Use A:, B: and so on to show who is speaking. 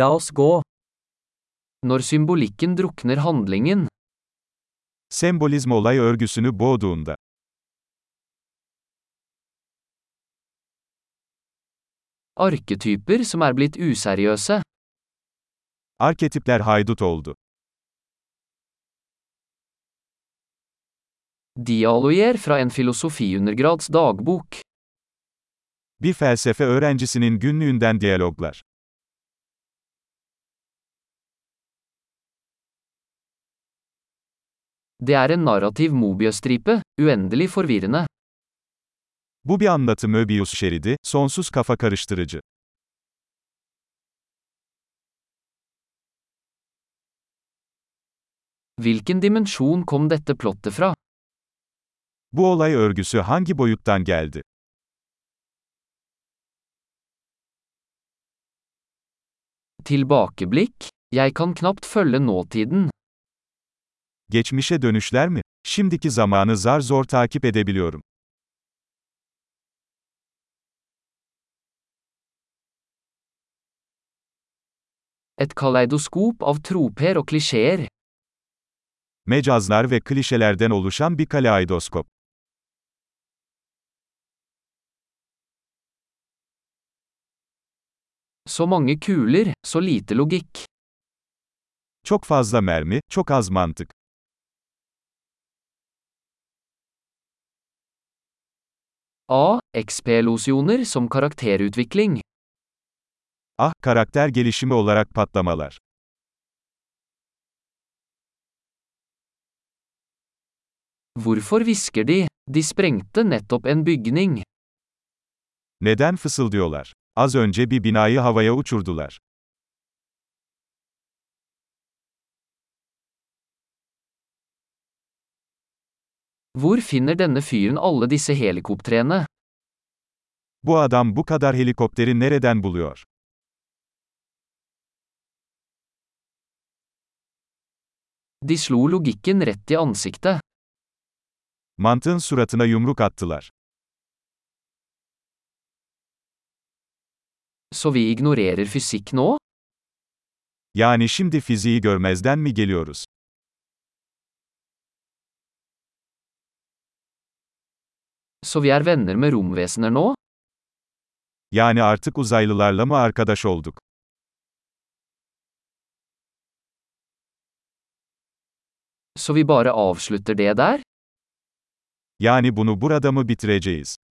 A: La oss gå. Når symbolikken drukner handlingen,
B: Sembolizm olay örgüsünü boğduğunda,
A: arketyper som er blitt useriøse,
B: arketipler haydut oldu.
A: dialoger fra en filosofiundergrads dagbok,
B: Bir felsefe öğrencisinin günlüğünden diyaloglar.
A: det er en narrativ mobiøstripe, uendelig forvirrende.
B: Bu bir anlatı Möbius şeridi, sonsuz kafa karıştırıcı.
A: Hvilken dimensjon kom dette plottet fra?
B: Bu olay örgüsü hangi boyuttan geldi?
A: Tilbakeblikk? Jeg kan knapt følge nåtiden.
B: Geçmişe dönüşler mi? Şimdiki zamanı zar zor takip edebiliyorum.
A: Et kaleidoskop av troper og klisjeer.
B: Mecazlar ve klişelerden oluşan bir kaleidoskop.
A: Så mange kuler, så lite logikk.
B: Çok fazla mermi, çok az mantık.
A: A. XP-losjoner som karakterutvikling.
B: Ah, karakter gelişimi olarak patlamalar.
A: Hvorfor hvisker de? De sprengte nettopp en bygning.
B: Neden fısıldıyorlar? Az önce bir binayı havaya uçurdular.
A: Hvor finner denne fyren alle disse helikoptrene?
B: Bu adam bu kadar helikopteri nereden buluyor?
A: De slo logikken rett i ansiktet.
B: Mantığın suratına yumruk attılar.
A: Så vi ignorerer fysikk nå?
B: Yani şimdi fiziği görmezden mi geliyoruz?
A: Så vi er venner med romvesener nå?
B: Yani artık uzaylılarla mı arkadaş olduk?
A: Så vi bare avslutter det der?
B: Yani bunu burada mı bitireceğiz?